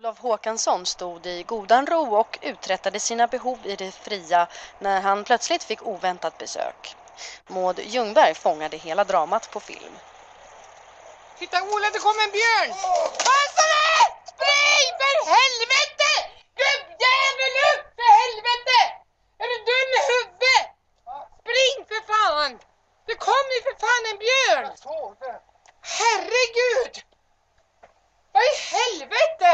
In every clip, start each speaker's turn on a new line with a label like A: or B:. A: Gustav Håkansson stod i godan ro och uträttade sina behov i det fria när han plötsligt fick oväntat besök. Maud Ljungberg fångade hela dramat på film.
B: Titta Ola, det kommer en björn!
C: Passa dig! Spring för helvete! Gubbjävel upp för helvete! Är du dum i huvudet? Spring för fan! Det kommer ju för fan en björn! Herregud! Vad i helvete!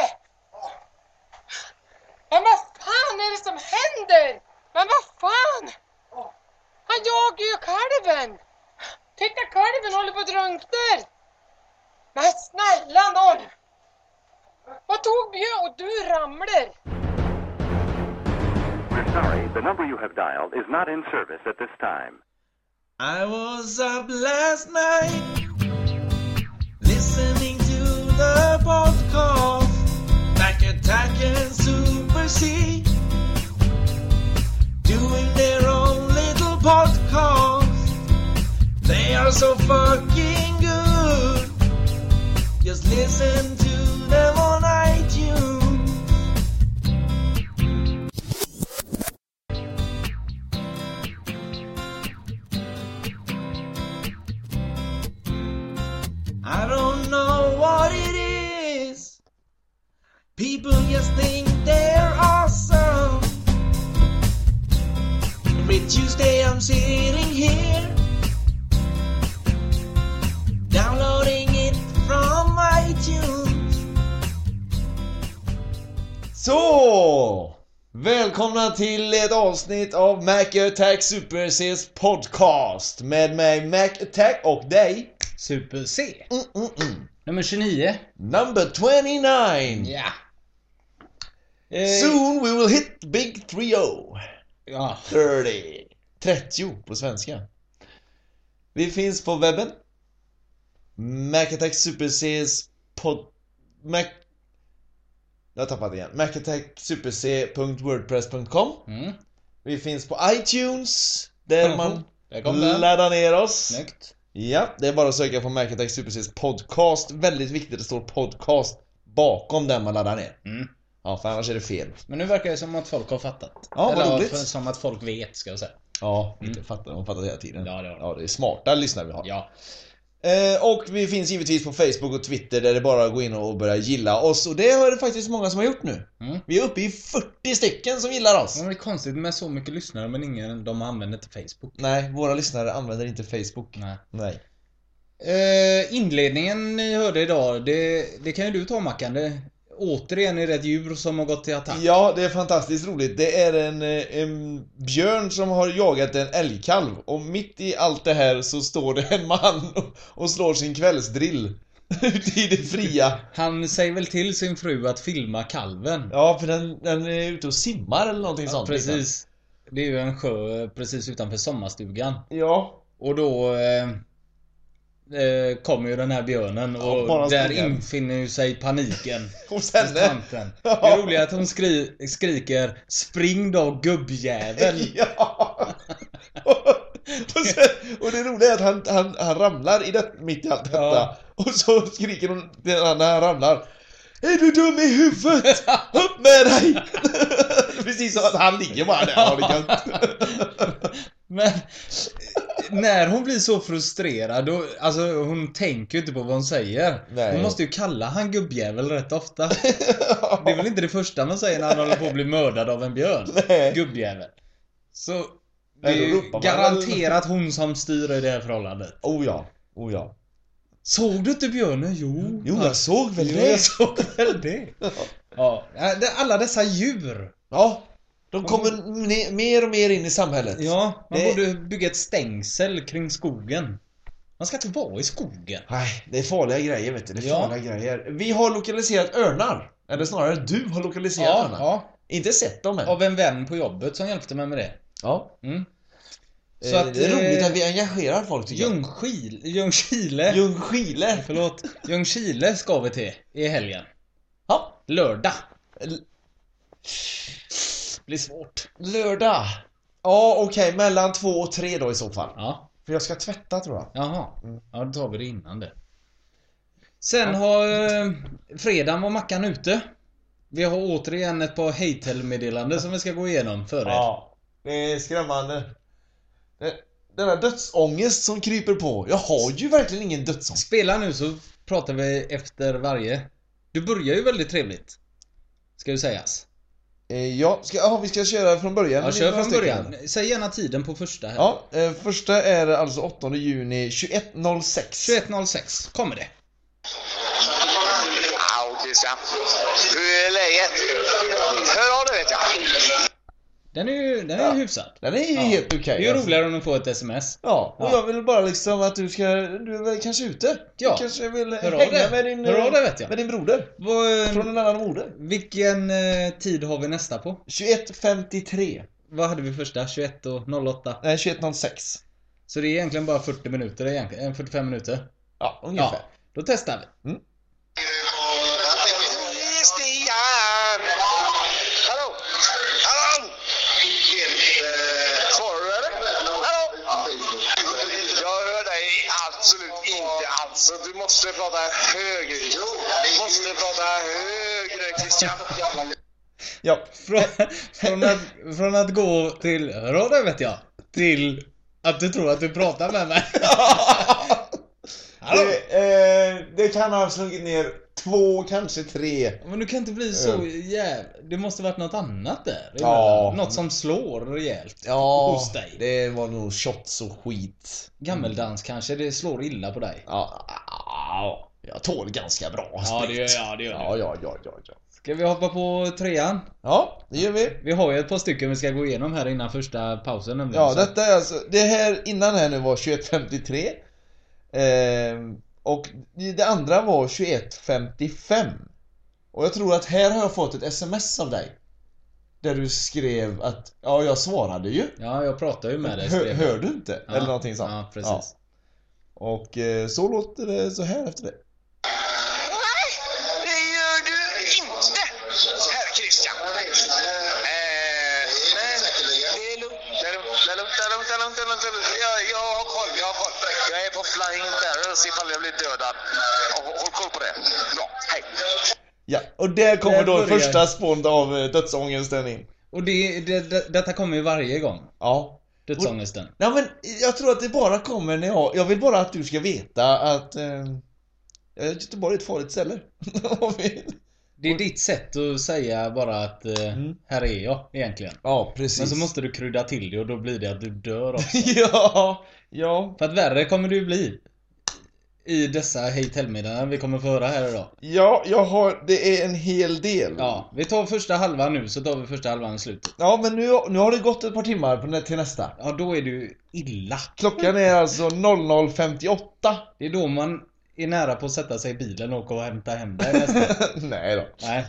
C: Men vad fan är det som händer? Men vad fan! Han jagar ju kalven! Titta kalven håller på att drunkna! Men snälla nån! Vad tog Björn? Och du ramlar!
D: We're sorry, the number you have dialed is not in service at this time.
E: I was up last night listening to the podcast Back Attack and Super C doing their own little podcast. They are so fucking good. Just listen to them on iTunes. I don't know what it is. People just think they're awesome. Every Tuesday I'm sitting here, downloading it from iTunes.
F: Så! Välkomna till ett avsnitt av Mac Attack Super Cs podcast med mig Mac Attack och dig.
G: Super C.
F: Mm, mm, mm.
G: Nummer 29.
F: Number 29!
G: Ja.
F: Soon we will hit big 30.
G: ja.
F: 30. 30 på svenska. Vi finns på webben. Macattack Super Cs pod... Mac... Jag har tappat igen. macattacksuperc.wordpress.com
G: Mm.
F: Vi finns på iTunes, där man
G: Där kom den.
F: laddar ner oss.
G: Snyggt.
F: Ja, det är bara att söka på Macattack Super Cs podcast. Väldigt viktigt, det står podcast bakom den man laddar ner.
G: Mm.
F: Ja, för annars är det fel.
G: Men nu verkar det som att folk har fattat.
F: Ja, vad roligt.
G: för- som att folk vet, ska jag säga.
F: Ja, inte fattar. De fattar hela tiden.
G: Mm. Ja, det har de.
F: ja, det är smarta lyssnare vi har.
G: Ja.
F: Eh, och vi finns givetvis på Facebook och Twitter där det bara är att gå in och börja gilla oss. Och det har det faktiskt många som har gjort nu.
G: Mm.
F: Vi är uppe i 40 stycken som gillar oss.
G: Men Det är konstigt med så mycket lyssnare men ingen de använder till Facebook.
F: Nej, våra lyssnare använder inte Facebook.
G: Nej.
F: Nej.
G: Eh, inledningen ni hörde idag, det, det kan ju du ta Mackan. Det, återigen är det ett djur som har gått till attack.
F: Ja, det är fantastiskt roligt. Det är en, eh, en björn som har jagat en älgkalv. Och mitt i allt det här så står det en man och, och slår sin kvällsdrill. Ute i det fria.
G: Han säger väl till sin fru att filma kalven?
F: Ja, för den, den är ute och simmar eller någonting sånt. liksom.
G: precis. Det är ju en sjö precis utanför sommarstugan.
F: Ja.
G: Och då eh, eh, kommer ju den här björnen
F: Ja,
G: och
F: bara
G: där
F: springa.
G: infinner ju sig paniken.
F: Hos
G: hos
F: henne.
G: tanten. Det
F: Ja.
G: är roligt att hon skri skriker 'Spring då gubbjävel'
F: Ja! och, sen, och det roliga är att han, han, han ramlar i det, mitt i allt detta.
G: Ja.
F: Och så skriker hon till honom när han ramlar. Är du dum i huvudet? Upp med dig! Precis som att han ligger bara där. Ja, det kan-
G: Men när hon blir så frustrerad, då, alltså hon tänker ju inte på vad hon säger.
F: Nej.
G: Hon måste ju kalla han gubbjävel rätt ofta. Det är väl inte det första man säger när han håller på att bli mördad av en björn?
F: Nej.
G: Gubbjävel. Så det är
F: Nej, då
G: ju
F: ropar man
G: garanterat hon som styr i det här förhållandet.
F: oh ja, oh ja.
G: Såg du inte björnen? Jo.
F: Jo, jag såg väl
G: Jo,
F: det.
G: jag såg väl det. Ja, det- alla dessa djur.
F: Ja, de kommer ne- mer och mer in i samhället.
G: Ja, man
F: Det-
G: borde bygga ett stängsel kring skogen. Man ska inte vara i skogen.
F: Nej, det är farliga grejer vet du. Det är
G: Ja.
F: farliga grejer. Vi har lokaliserat örnar. Eller snarare du har lokaliserat örnar.
G: Ja,
F: Inte sett dem än.
G: ja, av en vän på jobbet som hjälpte mig med det.
F: Ja.
G: Mm.
F: Så att, det är
G: eh,
F: roligt att vi engagerar folk tycker jag.
G: Ljungskil, Ljungskile,
F: Ljungskile.
G: förlåt, Ljungskile ska vi till i helgen.
F: Ja.
G: Lördag.
F: L-
G: Blir svårt.
F: Lördag. Ja, okej. Mellan två och tre då i så fall.
G: Ja,
F: För jag ska tvätta tror jag.
G: jaha.
F: Mm.
G: Ja, då tar vi det innan det. Sen har... Eh, fredagen var Mackan ute. Vi har återigen ett par Hatel-meddelanden som vi ska gå igenom för er.
F: Ja. Det är skrämmande. Det- Denna dödsångest som kryper på. Jag har ju verkligen ingen dödsångest.
G: Spela nu så pratar vi efter varje. Du börjar ju väldigt trevligt. Ska ju sägas.
F: Eh, ja, ska, aha, vi ska köra från början.
G: Ja,
F: Det är
G: kör
F: några
G: från
F: stycken.
G: början. Säg gärna tiden på första här.
F: Ja, eh, första är alltså 8 juni 21.06.
G: 21.06 kommer det.
H: Ja, Christian. Hur är läget? Hör av dig vet jag.
G: Den är ju den är
F: Ja.
G: hyfsad.
F: Den är ju
G: Ja.
F: helt okej.
G: Det är ju
F: alltså.
G: roligare om de får ett sms.
F: Ja, och
G: Ja.
F: jag vill bara liksom att du ska... Du är väl kanske ute?
G: Ja.
F: Du kanske vill
G: Hör av
F: hänga
G: dig.
F: med din...
G: Hör av dig, vet jag.
F: Med din broder.
G: Vad, eh,
F: Från en annan moder.
G: vilken eh, tid har vi nästa på?
F: 21.53.
G: Vad hade vi första? 21 och 08.
F: Nej, 21.06.
G: Så det är egentligen bara 40 minuter egentligen. eh, 45 minuter.
F: Ja, ungefär. Mm.
G: Ja, då testar vi.
H: Christian! Hallå! Hallå! Svarar du eller? Hallå! Jag hör dig absolut inte alls. Du måste prata högre. Du måste prata högre Christian.
F: Ja.
G: Från, från, att, från att gå till rådet vet jag, till att du tror att du pratar med mig. Hallå?
F: Det, eh, det kan ha slagit ner två, kanske tre.
G: Men du kan inte bli så jävla... Det måste varit något annat där
F: Eh. Ja.
G: ja. Något som slår rejält
F: Ja,
G: hos dig.
F: det var nog shots och skit.
G: Gammeldans kanske, det slår illa på dig.
F: Ja, ja, jag tål ganska bra.
G: Ja, det gör-
F: sprit.
G: ja, det gör
F: ja, ja, ja, ja, ja.
G: Ska vi hoppa på trean?
F: Ja, det gör vi.
G: Vi har ju ett par stycken vi ska gå igenom här innan första pausen nämligen.
F: Ja,
G: så-
F: detta är alltså, det här innan här nu var 21.53 ehm, Och det andra var 21.55 Och jag tror att här har jag fått ett sms av dig Där du skrev att, ja jag svarade ju
G: Ja, jag pratar ju med dig.
F: Hör,
G: skrev jag.
F: hör du inte?
G: Ja,
F: Eller någonting sånt
G: Ja, precis.
F: Och eh, så låter det så här efter det
H: Nej, det gör du inte, herr Christian. Eh, men det är lugnt, det är lugnt, det är lugnt, det är lugnt, det är lugnt, det är lugnt, det är lugnt. Jag, jag har koll, jag har koll. Jag är på Flying Barrels ifall jag blir dödad. Och hå- Håll koll på det. Bra, hej.
F: Ja, och där kommer
G: Där
F: då
G: börjar-
F: första spån av eh, dödsångesten in
G: Och det, det, det, detta kommer ju varje gång.
F: Ja
G: Dödsångesten.
F: Nej men jag tror att det bara kommer när jag... Jag vill bara att du ska veta att... Eh, eh, Göteborg är ett farligt ställe. Om vi-
G: Det är ditt sätt att säga bara att eh,
F: Mm.
G: här är jag egentligen.
F: ja, precis.
G: Men så måste du krydda till det och då blir det att du dör också.
F: ja, ja,
G: För att värre kommer du bli. I dessa hej tell-meddelanden vi kommer få höra här idag.
F: ja, jag har... Det är en hel del.
G: Ja, vi tar första halvan nu så tar vi första halvan i slutet.
F: Ja, men nu, nu har det gått ett par timmar på nä- till nästa.
G: Ja, då är du illa.
F: Klockan är alltså 00.58.
G: Det är då man är nära på att sätta sig i bilen och åka och hämta hem dig nästan.
F: Nej då.
G: Nej.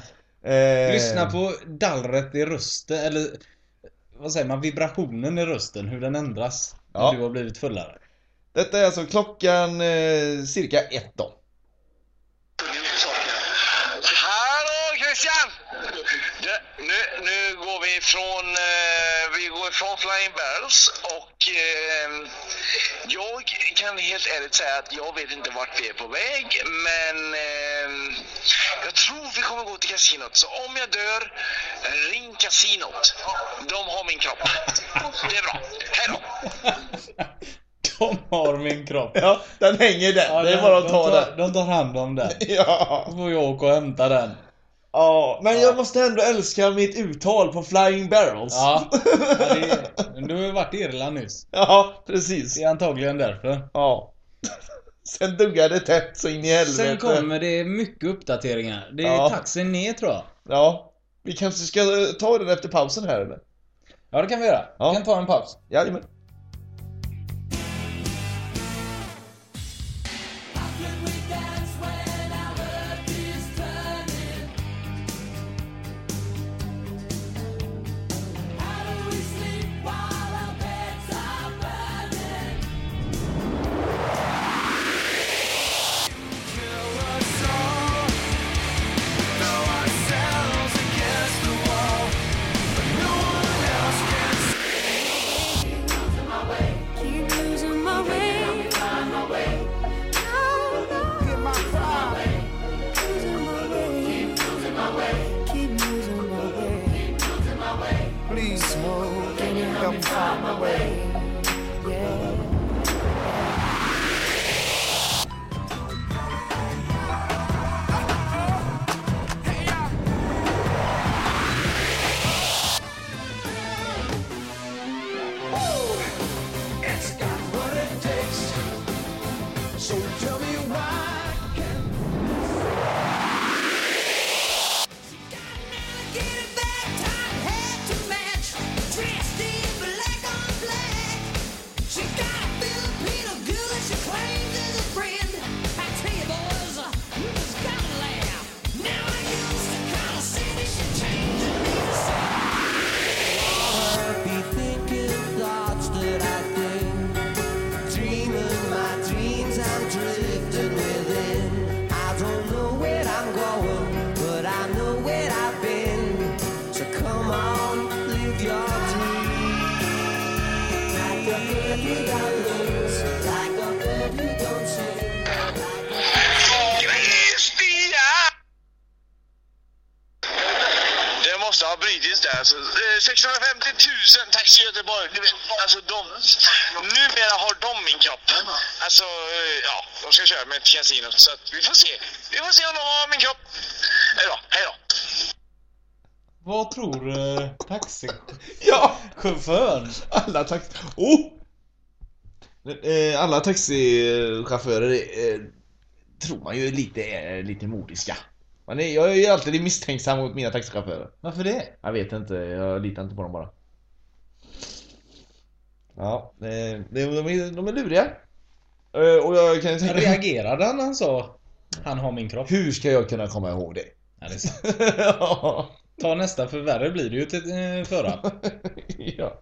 F: Eh,
G: Lyssna på dallret i rösten, eller vad säger man, vibrationen i rösten, hur den ändras när
F: Ja.
G: du har blivit fullare.
F: Detta är alltså klockan eh, cirka ett då.
H: Hallå Christian! Det, nu, nu går vi ifrån, eh, vi går ifrån Flying Barrels och eh, jag kan helt ärligt säga att jag vet inte vart vi är på väg men eh, jag tror vi kommer gå till kasinot. Så om jag dör, ring kasinot. De har min kropp. Det är bra. Hej då!
G: De har min kropp.
F: Ja, den hänger där. det är bara att ta
G: de tar,
F: den.
G: De tar hand om den.
F: Ja.
G: Då får jag åka och hämta den.
F: Ja, men jag måste ändå älska mitt uttal på Flying Barrels.
G: Ja, ja det är, du har ju varit i Irland nyss.
F: Ja, precis.
G: Det är antagligen därför.
F: Ja. Sen duggar det tätt så in i helvete.
G: Sen kommer det mycket uppdateringar. Det är
F: Ja.
G: taxin ner tror jag.
F: Ja. Vi kanske ska eh, ta den efter pausen här eller?
G: Ja, det kan vi göra.
F: Ja.
G: Vi kan ta en paus.
F: Jajamän.
I: can find my way. Yeah. It's got what it takes. So tell me why can't be thinking thoughts that I think. Dreaming my dreams, I'm drifting within. I don't know where I'm going, but I know where I've been. So come on, live your dream. Like a bird you don't lose, like a bird you don't sing.
H: Kristina! Det måste ha brutits där. Alltså, Eh, 650 000, tack till Göteborg. Du vet, alltså de... Numera har de min kropp. Alltså, eh, ja, de ska köra med ett kasino. Så att vi får se. Vi får se om de har min kropp. Hej då, hej då.
G: Vad tror eh, taxichauffören?
F: Ja! Alla taxi... Oh! Eh, Alla taxichaufförer eh, tror man ju lite är lite modiska. Man är, jag är ju alltid misstänksam mot mina taxichaufförer.
G: Varför det?
F: Jag vet inte, jag litar inte på dem bara. Ja, eh, de, de, är, de är luriga. Eh, Och jag kan ju tänka
G: Reagerade han när han sa Han har min kropp?
F: Hur ska jag kunna komma ihåg det?
G: Ja, det är sant. Ta nästa för värre blir det ju till eh, förra.
F: ja.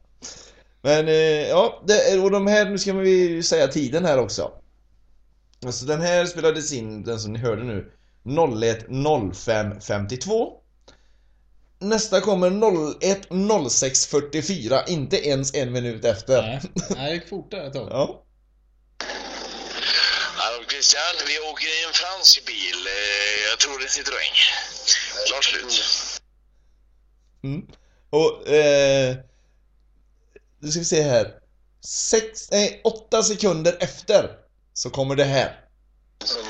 F: Men eh, ja, det, och de här, nu ska vi ju säga tiden här också. Alltså den här spelades in, den som ni hörde nu, 01.05.52. Nästa kommer 01.06.44, inte ens en minut efter.
G: Nej, Nej, det gick fort där ett tag.
F: Ja.
H: Hallå Christian, vi åker i en fransk bil. Eh, Jag tror det är Citroën. Klart slut.
F: Mm. Och eh, nu ska vi se här. Sex, nej, åtta sekunder efter så kommer det här.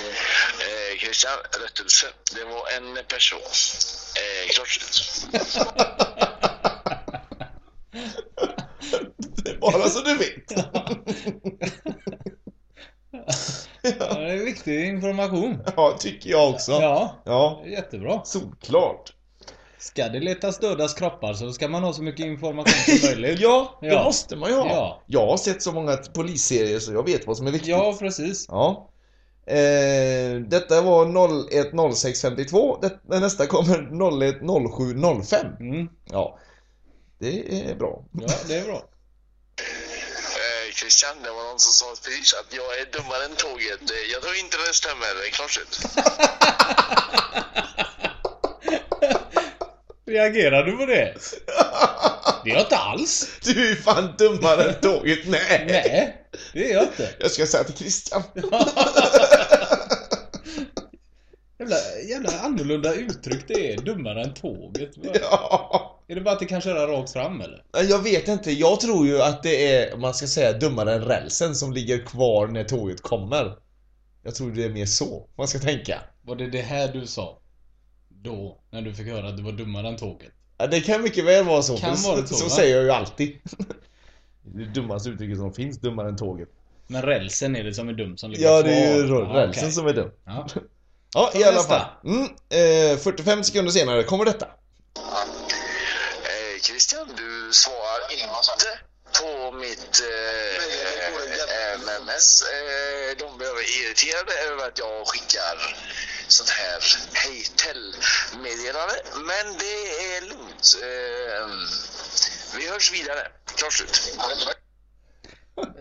H: Eh, Christian, rättelse. Det var en person. Eh, klart slut.
F: Det är bara så du vet.
G: Ja, det är viktig information.
F: Ja, tycker jag också.
G: Ja,
F: Ja,
G: jättebra.
F: solklart.
G: Ska det letas dödas kroppar så ska man ha så mycket information som möjligt.
F: Ja, det
G: Ja.
F: måste man ju ha.
G: Ja.
F: Jag har sett så många polisserier så jag vet vad som är viktigt.
G: Ja, precis.
F: Ja. Eh, detta var 010652. Det, nästa kommer 010705.
G: Mm.
F: Ja. Det är bra.
G: Ja, det är bra.
H: Eh, Christian, det var någon som sa precis att jag är dummare än tåget. Eh, Jag tror inte det stämmer. Eh, Klart slut.
G: Reagerar du på det? Det gör jag inte alls.
F: Du är fan dummare än tåget, nej.
G: Nej, det gör jag inte.
F: Jag ska säga till Christian.
G: Jävla, jävla annorlunda uttryck det är. Dummare än tåget. Va?
F: Ja.
G: Är det bara att det kan köra rakt fram eller?
F: Nej, Jag vet inte, jag tror ju att det är, om man ska säga dummare än rälsen som ligger kvar när tåget kommer. Jag tror det är mer så man ska tänka.
G: Var det det här du sa? Då, när du fick höra att du var dummare än tåget?
F: Ja, Det kan mycket väl vara så,
G: Kan
F: för
G: vara så,
F: så,
G: va?
F: säger jag ju alltid. Det är det dummaste uttrycket som finns, dummare än tåget.
G: Men rälsen är det som är dum som ligger
F: Ja, det är ju
G: kvar.
F: rö-
G: Ja,
F: rälsen
G: okej.
F: som är dum.
G: Ja.
F: Ja,
G: Ta
F: i alla
G: nästa.
F: fall. Mm, eh, 45 sekunder senare kommer detta.
H: Eh, Christian, du svarar inte på mitt eh, MMS. Eh, de är irriterade över att jag skickar sånt här hejtell-meddelande. Men det är lugnt. Eh, vi hörs vidare. Klart slut.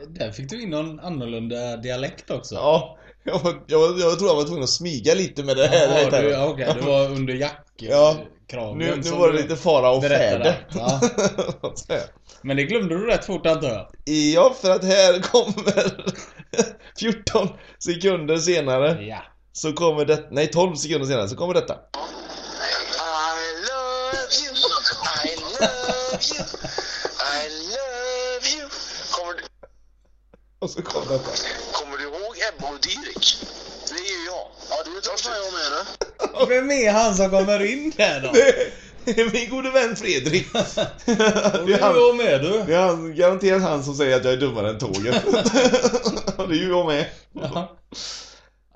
G: Där fick du in någon annorlunda dialekt också.
F: Ja, jag, var, jag, var, jag tror jag var tvungen att smyga lite med det här.
G: Jaha,
F: här
G: du, ja, okej, det var under jackkragen
F: Ja, nu, nu
G: som
F: var det
G: du
F: lite fara och
G: berättade.
F: färde.
G: Ja. Men det glömde du rätt fort antar jag?
F: ja, för att här kommer 14 sekunder senare
G: Ja.
F: så kommer det, nej 12 sekunder senare så kommer detta.
H: I love you. I love you. I love
F: Och så kom detta.
H: Kommer du ihåg Ebba och Dirk? Det är ju jag. Ja, det vet jag jag med det.
G: Vem är han som kommer in där då?
F: Min gode vän Fredrik.
G: Och
F: det,
G: du
F: är han,
G: är med du.
F: det är han, garanterat han som säger att jag är dummare än tåget. Och det är ju jag med.
G: Ja.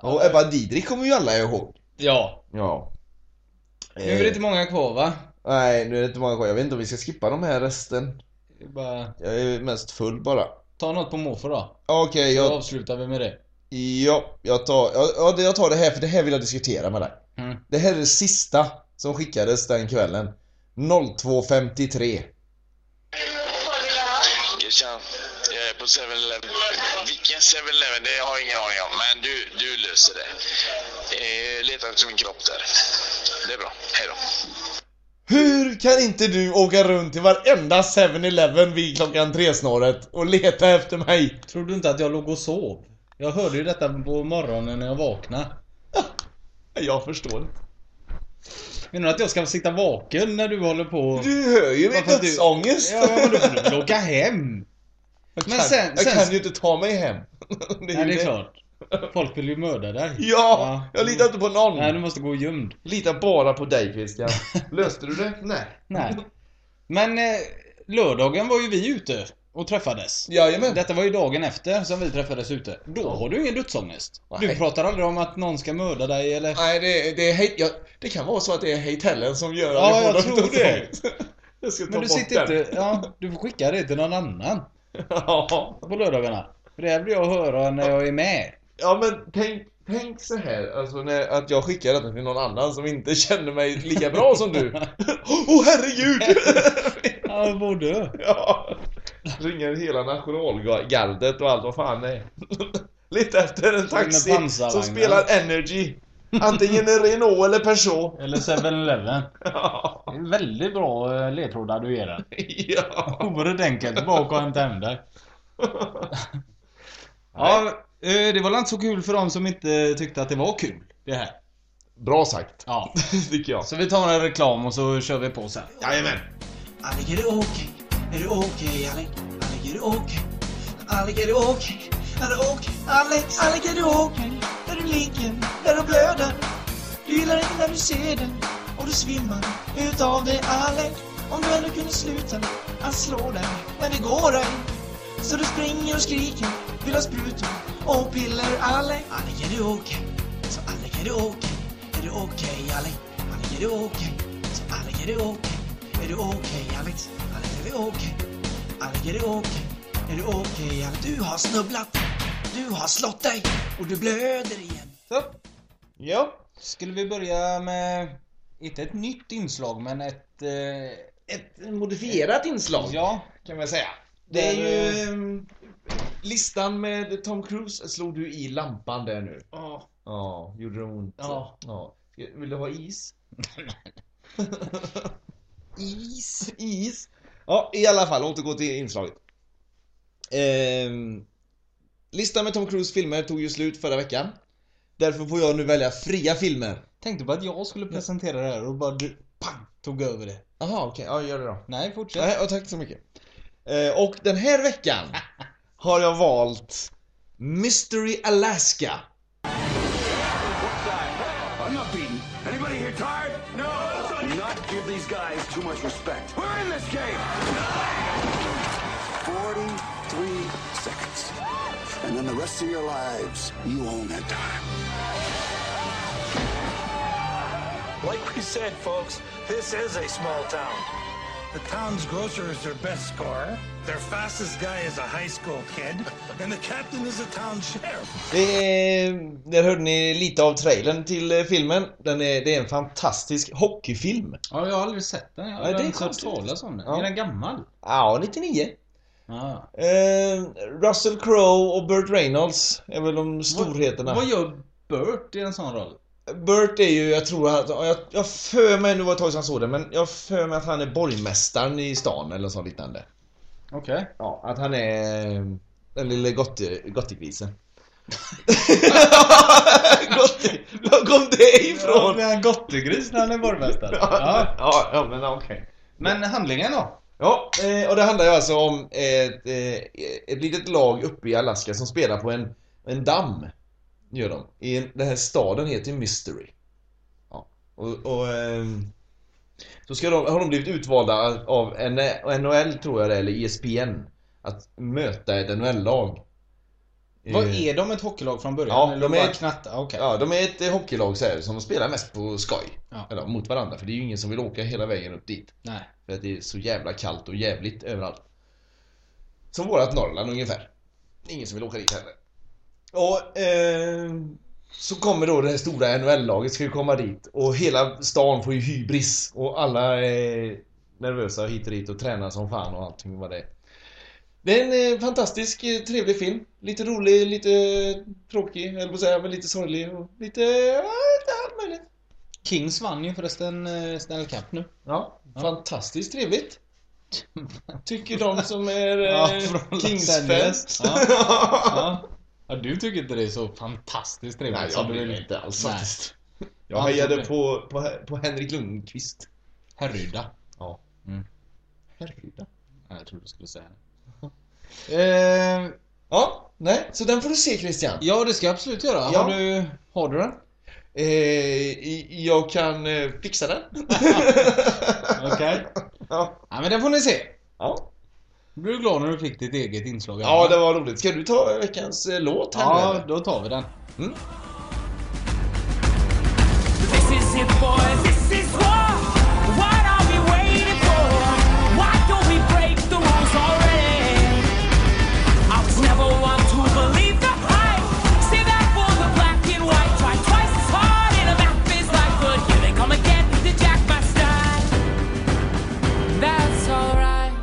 F: Ja, Och Ebba Didrik kommer ju alla ihåg.
G: Ja.
F: Ja.
G: Nu
F: Eh.
G: är det inte många kvar va?
F: Nej, nu är det inte många kvar. Jag vet inte om vi ska skippa de här resten.
G: Det är Bara,
F: Jag är mest full bara.
G: ta något på måfå då.
F: Okej,
G: Då
F: jag,
G: avslutar vi med det.
F: ja, jag, tar, ja, ja, det- jag tar det här för det här vill jag diskutera med dig.
G: Mm.
F: Det här är det sista som skickades den kvällen. 02.53.
H: Christian, jag är på 7-Eleven. Vilken 7-Eleven? Det har jag ingen aning om. Men du, du löser det. Eh, leta efter min kropp där. Det är bra. Hej då.
F: Hur kan inte du åka runt till varenda 7-Eleven vid klockan tre-snåret och leta efter mig?
G: Tror du inte att jag låg och sov? Jag hörde ju detta på morgonen när jag vaknade.
F: Jag förstår inte.
G: Menar du att jag ska sitta vaken när du håller på? och-
F: Du hör ju min
G: Varför du-
F: dödsångest!
G: Ja, men då får du väl åka hem?
F: Jag
G: Men
F: kan-
G: sen-
F: jag
G: sen-
F: kan ju inte ta mig hem. Det
G: Nej, det är klart. Folk vill ju mörda dig.
F: Ja!
G: Ja.
F: Jag litar inte på någon!
G: Nej, du måste gå gömd.
F: Litar bara på dig Christian. Löste du det? Nej.
G: Nej. Men eh, lördagen var ju vi ute och träffades.
F: Jajamän.
G: Detta var ju dagen efter som vi träffades ute. Då har du ingen dödsångest. Du
F: Nej.
G: pratar aldrig om att någon ska mörda dig eller...
F: Nej, det, det är hate, jag, Det kan vara så att det är hate hellen som gör
G: Ja,
F: att
G: jag
F: får
G: tror det.
F: dödsångest. Jag ska ta
G: Men du
F: bort
G: sitter
F: den.
G: inte... Ja, du får skicka det till någon annan
F: Ja.
G: på lördagarna. För det här vill jag höra när jag är med.
F: Ja men tänk, tänk så här, alltså när, att jag skickar detta till någon annan som inte känner mig lika bra som du. Åh oh, herregud!
G: Ja, både.
F: ja. Ringer hela nationalgardet och allt vad fan det är. Lite efter en taxi
G: pansarvagnar.
F: som spelar Energy. Antingen en Renault eller Peugeot.
G: Eller 7-Eleven.
F: Ja.
G: Det är Väldigt bra eh, ledtrådar du ger den.
F: ja.
G: Oerhört enkelt. Bara åka och hämta hem dig. Ja, eh, det var väl inte så kul för dem som inte tyckte att det var kul. Det här.
F: Bra sagt,
G: Ja.
F: tycker jag.
G: Så vi tar en reklam och så kör vi på sen.
F: Jajamän.
E: Alec, är det okej? Är det okej, Alec? Alec, är det okej? Alec, är det okej? Är det okej? Alex, Alec, är det okej? När du ligger, när du blöder? Du gillar inte när du ser det och du svimmar utav det, Alec. Om du ändå kunde sluta att slå dig, men det går ej. Så du springer och skriker, vill ha sprutor och piller, Alec. Alec, är det okej? Så Alec, är det okej? Är det okej, Alec? Alec, är det okej? Så Alec, är det okej? Är det okej, Alex? Alex, är det okej? Alex, är det okej? Är det okej, Alex? Du har snubblat, du har slått dig och du blöder igen.
G: Så,
F: Ja.
G: skulle vi börja med, inte ett nytt inslag, men ett... Eh,
F: Ett modifierat inslag.
G: ja.
F: kan man säga. Det är
G: Där, eh,
F: ju... ehm, Listan med Tom Cruise slog du i lampan där nu. Ja. Ja, gjorde det ont?
G: Ja.
F: ja. Ska- Vill du ha is? is, is. Ja, i alla fall, återgå till inslaget. Ehm, listan med Tom Cruise filmer tog ju slut förra veckan. Därför får jag nu välja fria filmer.
G: Tänkte på att jag skulle presentera det här och bara du, pang, tog över det.
F: Jaha, okej. Ja, gör det då.
G: Nej, fortsätt.
F: Nej, och tack så mycket. Eh, Och den här veckan har jag valt Mystery Alaska.
D: I'm not beaten. Anybody here tired? No! Do not give these guys too much respect. We're in this game! 43 seconds. And then the rest of your lives, you own that time. Like we said, folks, this is a small town. The town's grocer is their best scorer, their fastest guy is a high school kid, and the captain is a town sheriff.
F: Det är, där hörde ni lite av trailern till eh, filmen. Den är, det är en fantastisk hockeyfilm.
G: Ja, jag har aldrig sett den. Jag har
F: Nej, det är
G: aldrig hört
F: konstigt.
G: talas om den.
F: Ja.
G: Är den gammal?
F: Ja, 99.
G: Ja.
F: Eh, Russell Crowe och Burt Reynolds är väl de storheterna.
G: Vad gör Bert i en sån roll?
F: Burt är ju, jag tror att, jag, jag för mig, nu var det ett tag sedan jag såg det, men jag för mig att han är borgmästaren i stan eller så liknande.
G: Okej.
F: Ja, att han är eh, den lille gotte- gottegrisen. Gotte- Var kom det
G: Ja,
F: ifrån?
G: det är en gottegris när han är borgmästare.
F: Ja,
G: Ja.
F: ja, men okej.
G: Men handlingen då?
F: Ja, eh, och det handlar ju alltså om ett, eh, ett litet lag uppe i Alaska som spelar på en, en damm. Gör de. I en, den här staden heter ju Mystery. Ja. Och, och ehm, så ska de, har de blivit utvalda av N- NHL tror jag det är, eller E ESPN. Att möta ett NHL-lag.
G: Vad
F: Eh,
G: är de? Ett hockeylag från början?
F: Ja,
G: Eller
F: de
G: bara
F: är-
G: knatta? Okej.
F: Ja, de är ett eh, hockeylag så här, som de spelar mest på skoj.
G: Ja.
F: Eller mot varandra, för det är ju ingen som vill åka hela vägen upp dit.
G: Nej.
F: För att det är så jävla kallt och jävligt överallt. Som vårat Norrland ungefär. Ingen som vill åka dit heller. Och eh, så kommer då det här stora NHL-laget ska ju komma dit och hela stan får ju hybris och alla är nervösa hit och dit och tränar som fan och allting vad det är. Det är en eh, fantastisk eh, trevlig film. Lite rolig, lite eh, tråkig, eller vad säga, men lite sorglig och lite... Ja, lite allt möjligt.
G: Kings vann ju förresten eh, Stanley Cup nu.
F: Ja, fantastiskt trevligt. Tycker de som är
G: Ja,
F: eh,
G: från Los
F: Kings-fans.
G: Angeles. Ja. Ja. ja, du tycker inte det är så fantastiskt trevligt
F: Nej, jag
G: som du
F: bryr
G: vill.
F: mig inte alls
G: Nej. Alltså,
F: faktiskt. Jag
G: Ja,
F: hejade
G: absolut.
F: på, på, på Henrik Lundqvist.
G: Härryda.
F: Ja.
G: Mm.
F: Härryda.
G: Ja, Jag trodde du skulle säga det. Eh,
F: Ja, nej, så den får du se Christian.
G: ja, det ska jag absolut göra.
F: Ja.
G: Har, du, har du den?
F: Eh, i- jag kan eh, fixa den.
G: Okej.
F: Ja.
G: Ja, men den får ni se.
F: Ja.
G: Du blir glad när du fick ditt eget inslag.
F: ja, det var roligt. Ska du ta veckans eh, låt här nu?
G: ja
F: eller?
G: då tar vi den.
J: This is it, boys. This is war. What are we waiting for? Why don't we break the rules already? I was never one to believe the hype. See that for the black and white. Try twice as hard in a map is like good. Here they come again to jack my style. That's alright.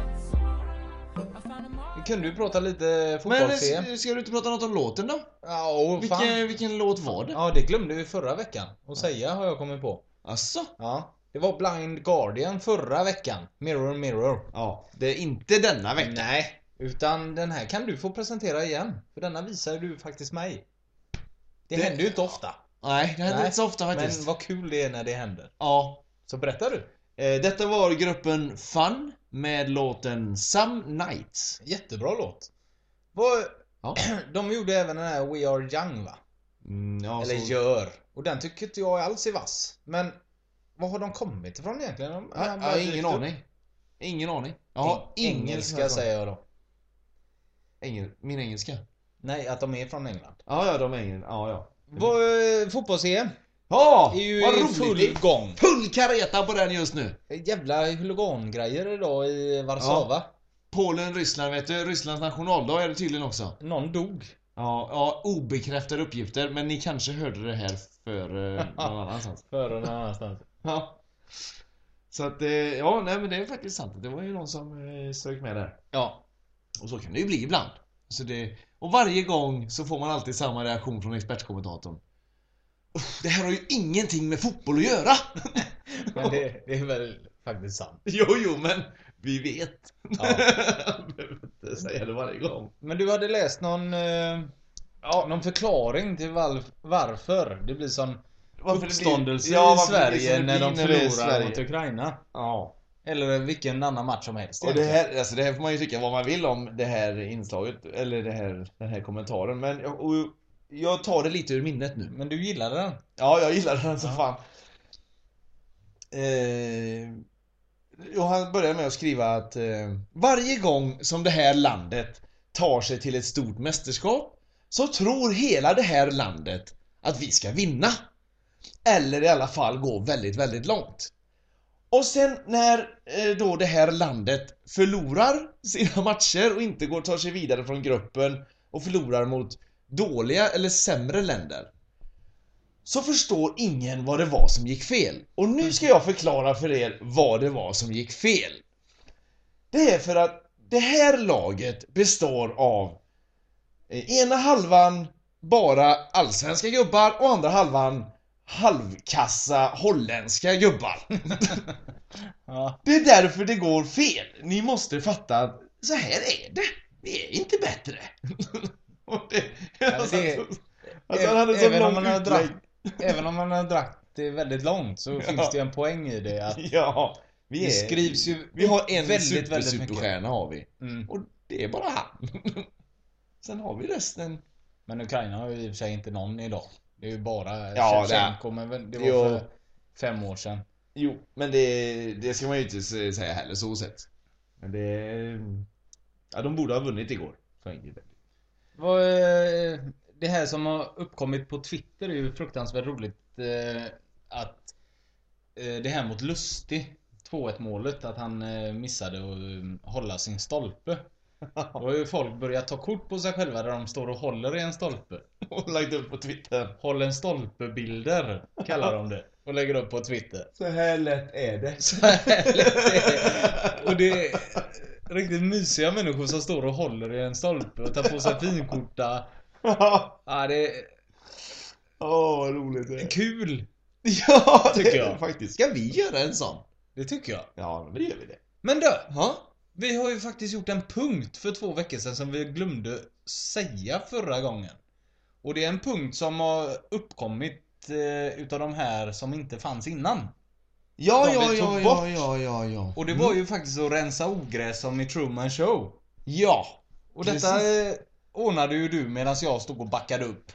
J: I found a mark.
G: Kan du prata lite
F: Men eh,
G: fotbolls-EM?
F: ska du inte prata något om låten då?
G: Ja, åh,
F: Vilken, vilken låt var det?
G: Ja, det glömde vi förra veckan att säga har jag kommit på.
F: Asså?
G: Ja. Det var Blind Guardian förra veckan. Mirror Mirror.
F: Ja, det är inte denna vecka.
G: Nej. Utan den här kan du få presentera igen. För denna visar du faktiskt mig. Det,
F: Det-
G: händer ju inte ofta.
F: Nej, det händer
G: Nej,
F: inte så ofta faktiskt.
G: Men vad kul det är när det händer.
F: Ja.
G: Så berättar du.
F: Eh, Detta var gruppen Fun med låten Some Nights.
G: Jättebra låt. Vad...
F: Ja.
G: De gjorde även den här We Are Young va?
F: Mm, ja,
G: Eller
F: så-
G: gör. Och den tycker inte jag alls är vass. Men vad har de kommit ifrån egentligen? De,
F: Ja,
G: de
F: jag
G: bara
F: har
G: dykt
F: ingen
G: upp.
F: aning. Ingen aning. Jag
G: Ja,
F: har ingen
G: engelska säger jag då.
F: Engel... Min engelska?
G: Nej, att de är från England.
F: Ja, ja, de är engel... Ja, ja.
G: Mm. Fotbolls-EM
F: Ja,
G: är ju
F: vad
G: i full
F: roligt!
G: gång.
F: Full kareta på den just nu!
G: Jävla huligangrejer idag i Warszawa.
F: Polen, Ryssland vet du. Rysslands nationaldag är det tydligen också.
G: Någon dog.
F: Ja, ja, obekräftade uppgifter, men ni kanske hörde det här för eh, någon annanstans.
G: Före någon annanstans.
F: Ja. Så att, eh, ja, nej men det är faktiskt sant. Det var ju någon som eh, strök med där.
G: Ja.
F: Och så kan det ju bli ibland. Så det, och varje gång så får man alltid samma reaktion från expertkommentatorn. "Uff, Det här har ju ingenting med fotboll att göra!
G: Men det, det är väl faktiskt sant.
F: jo, jo, men vi vet.
G: Ja.
F: Jag behöver inte säga det varje gång.
G: Men du hade läst någon, eh, ja, någon förklaring till val- varför det blir sån uppståndelse i Sverige när de förlorar mot Ukraina.
F: Ja.
G: Eller vilken annan match som helst.
F: Och det
G: egentligen.
F: här, alltså det här får man ju tycka vad man vill om det här inslaget, eller det här, den här kommentaren. Men jag, och jag tar det lite ur minnet nu.
G: Men du gillade den?
F: Ja, jag gillar den så fan. Eh, och han börjar med att skriva att eh, varje gång som det här landet tar sig till ett stort mästerskap så tror hela det här landet att vi ska vinna. Eller i alla fall gå väldigt, väldigt långt. Och sen när eh, då det här landet förlorar sina matcher och inte går tar sig vidare från gruppen och förlorar mot dåliga eller sämre länder så förstår ingen vad det var som gick fel. Och nu ska jag förklara för er vad det var som gick fel. Det är för att det här laget består av eh, ena halvan bara allsvenska gubbar och andra halvan halvkassa holländska gubbar.
G: Ja.
F: Det är därför det går fel. Ni måste fatta att så här är det. Vi är inte bättre. Och det, alltså,
G: det-
F: alltså, han hade så
G: även, om
F: lång
G: man har
F: utlägg.
G: dratt, även om man har dratt det väldigt långt så finns det ju en poäng i det. Att,
F: Ja, Vi,
G: Det
F: är,
G: skrivs ju
F: vi har en
G: väldigt,
F: super,
G: väldigt mycket.
F: superstjärna har vi.
G: Mm.
F: Och det är bara han. Sen har vi resten.
G: Men Ukraina har ju i och för sig inte någon idag. Det är ju bara
F: Ja, det är-
G: Shevchenko, men väl- det var
F: Jo.
G: för fem år sedan.
F: Jo, men det, det ska man ju inte se- säga heller så sett. Men det... Ja, de borde ha vunnit igår. Så enkelt är det.
G: Vad, eh, det här som har uppkommit på Twitter är ju fruktansvärt roligt. eh, Att eh, det här mot Lustig, 2-1 målet, att han eh, missade att eh, hålla sin stolpe. Då har ju folk börjat ta kort på sig själva där de står och håller i en stolpe.
F: Och lagt upp på Twitter.
G: Håll en stolpe-bilder, kallar de det. Och lägger upp på Twitter.
F: Så här lätt är det.
G: Så här lät det. Och det är riktigt mysiga människor som står och håller i en stolpe och tar på sig finkorta.
F: Ja,
G: Ja, det är
F: Åh, vad roligt det är.
G: kul.
F: Ja, det
G: Tycker
F: är det
G: jag.
F: faktiskt. Ska vi göra en sån?
G: Det tycker jag.
F: Ja, men det gör vi det.
G: Men du!
F: Ja.
G: Vi har ju faktiskt gjort en punkt för två veckor sedan som vi glömde säga förra gången. Och det är en punkt som har uppkommit eh, utav de här som inte fanns innan.
F: Ja,
G: De
F: ja,
G: vi tog
F: ja,
G: bort.
F: ja, ja, ja, ja. Mm.
G: Och det var ju faktiskt att rensa ogräs som i Truman Show.
F: Ja.
G: Och detta eh, ordnade ju du medan jag stod och backade upp.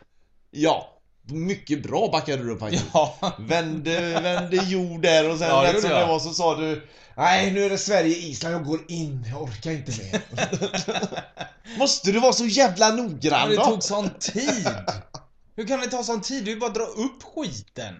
F: Ja. Mycket bra backade du upp faktiskt.
G: Ja.
F: Vände, vände jord där och sen
G: Ja, det
F: rätt
G: gjorde
F: som
G: jag.
F: det var så sa du Nej nu är det Sverige-Island, jag går in, jag orkar inte mer. Måste du vara så jävla
G: Men
F: noggrann
G: det
F: då?
G: tog sån tid! Hur kan det ta sån tid? Det är ju bara att dra upp skiten.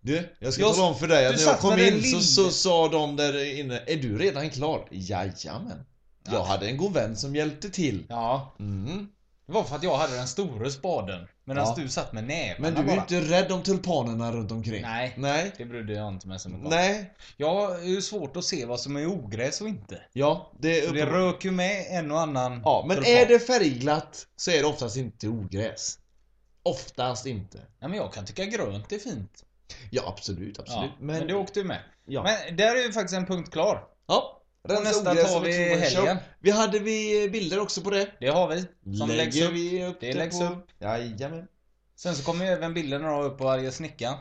F: Du, jag ska
G: Jag-
F: tala om för dig
G: du
F: att när
G: satt
F: jag kom
G: med
F: in
G: den
F: så,
G: lille.
F: så sa de där inne Är du redan klar? Jajamän. Jag hade en god vän som hjälpte till.
G: Ja,
F: Mm.
G: det var för att jag hade den store spaden. Medan
F: Ja.
G: du satt med nävarna
F: Men du är
G: bara.
F: ju inte rädd om tulpanerna runt omkring.
G: Nej.
F: Nej.
G: Det brydde jag inte mig så mycket om.
F: Nej.
G: Jag har ju svårt att se vad som är ogräs och inte.
F: Ja, det är
G: Så det
F: uppenbart.
G: rök ju med en och annan
F: Ja, men
G: tulpan.
F: är det färgglatt så är det oftast inte ogräs. Oftast inte.
G: Ja, men jag kan tycka grönt är fint.
F: Ja, absolut, absolut.
G: Ja, men... det åkte ju med.
F: Ja.
G: Men där är ju faktiskt en punkt klar.
F: ja. Rensa
G: nästa
F: ogräs
G: tar
F: och liksom
G: vi
F: Truman
G: helgen.
F: Show. Vi hade vi eh, bilder också på det.
G: Det har vi. Som läggs upp.
F: vi upp
G: Det läggs upp.
F: Jajamän.
G: Sen så kommer ju även bilderna då upp på arga snickaren.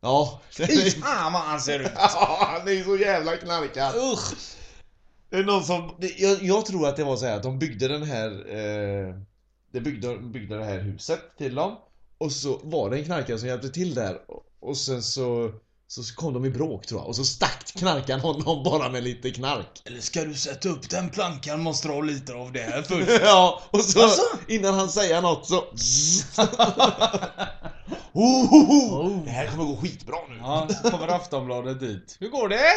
F: Ja.
G: Fy fan vad han ser ut!
F: Ja, han är så jävla knarkad.
G: Usch!
F: Det är någon som... det- Jag, jag tror att det var så här att de byggde den här... Eh, de byggde, byggde det här huset till dem. Och så var det en knarkare som hjälpte till där. Och, och sen så... Så kom de i bråk tror jag. Och så stack knarkaren honom bara med lite knark.
G: Eller ska du sätta upp den plankan måste du ha lite av det här först.
F: ja, och så
G: Alltså?
F: innan han säger något så... oh, oh, oh. Det här kommer gå skitbra nu.
G: Ja, så kommer Aftonbladet dit. Hur går det?